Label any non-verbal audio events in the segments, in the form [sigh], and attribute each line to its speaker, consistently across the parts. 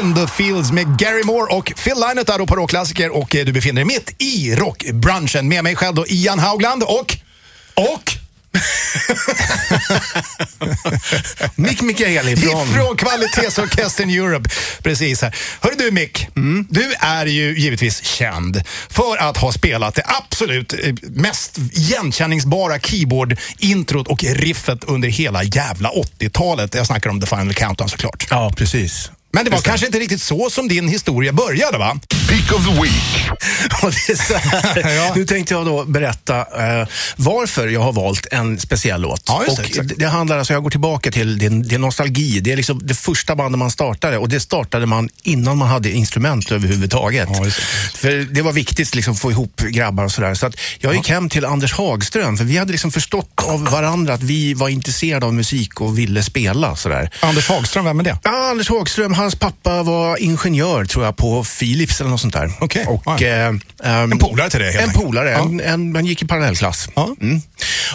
Speaker 1: In the Fields med Gary Moore och Phil Lynott där då på Rockklassiker och eh, du befinner dig mitt i rockbranschen. Med mig själv då Ian Haugland och... Och?
Speaker 2: Mick Mikaeli från...
Speaker 1: Ifrån Kvalitetsorkestern Europe. Precis här. Hörru du Mick, du är ju givetvis känd för att ha spelat det absolut eh, mest igenkänningsbara keyboard-introt och riffet under hela jävla 80-talet. Jag snackar om The Final Countdown såklart.
Speaker 2: Ja, precis.
Speaker 1: Men det var kanske inte riktigt så som din historia började va?
Speaker 3: Pick of the Week.
Speaker 2: [laughs] Och det är så här.
Speaker 1: Ja.
Speaker 2: Nu tänkte jag då berätta eh, varför jag har valt en speciell låt.
Speaker 1: Ja, just det,
Speaker 2: och
Speaker 1: exakt.
Speaker 2: det, det handlar alltså, jag går tillbaka till det, det är nostalgi. Det är liksom det första bandet man startade och det startade man innan man hade instrument överhuvudtaget.
Speaker 1: Ja, just
Speaker 2: För det var viktigt liksom, att få ihop grabbar och sådär. Så att jag gick hem till Anders Hagström för vi hade liksom förstått av varandra att vi var intresserade av musik och ville spela. Sådär.
Speaker 1: Anders Hagström, vem är det?
Speaker 2: Ja, Anders Hågström, hans pappa var ingenjör tror jag på Philips eller något sånt där.
Speaker 1: Okej,
Speaker 2: Och,
Speaker 1: ja.
Speaker 2: eh, ehm,
Speaker 1: En polare till dig, helt
Speaker 2: En
Speaker 1: enkelt.
Speaker 2: polare,
Speaker 1: Ja.
Speaker 2: en, en, han gick i parallellklass.
Speaker 1: Ja.
Speaker 2: Mm.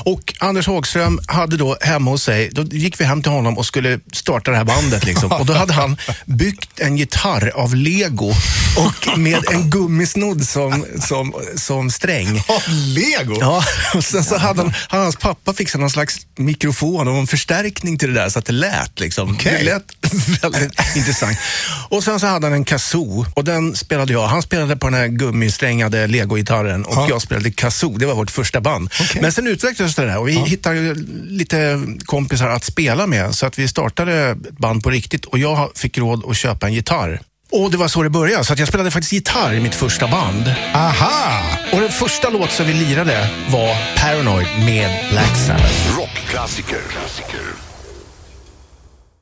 Speaker 2: Och Anders Hågström hade då hemma hos sig, då gick vi hem till honom och skulle starta det här bandet. Liksom. Och då hade han byggt en gitarr av lego och med en gummisnodd som, som, som sträng.
Speaker 1: Av Lego?
Speaker 2: Ja, och sen så hade han, han, hans pappa fixade någon slags mikrofon och en förstärkning till det där så att det lät liksom.
Speaker 1: Okej.
Speaker 2: Det lät [laughs] väldigt intressant. Och sen så hade han en kazoo och den spelade jag. Han spelade på den här gummisträngade legogitarren och
Speaker 1: Ja.
Speaker 2: jag spelade kazoo. Det var vårt första band.
Speaker 1: Okej.
Speaker 2: Men sen utvecklades det där och vi hittade ju lite kompisar att spela med så att vi startade ett band på riktigt och jag fick råd att köpa en gitarr. Och det var så det började, så att jag spelade faktiskt gitarr i mitt första band.
Speaker 1: Aha!
Speaker 2: Och den första låt som vi lirade var Paranoid med Black Sabbath.
Speaker 3: Rockklassiker.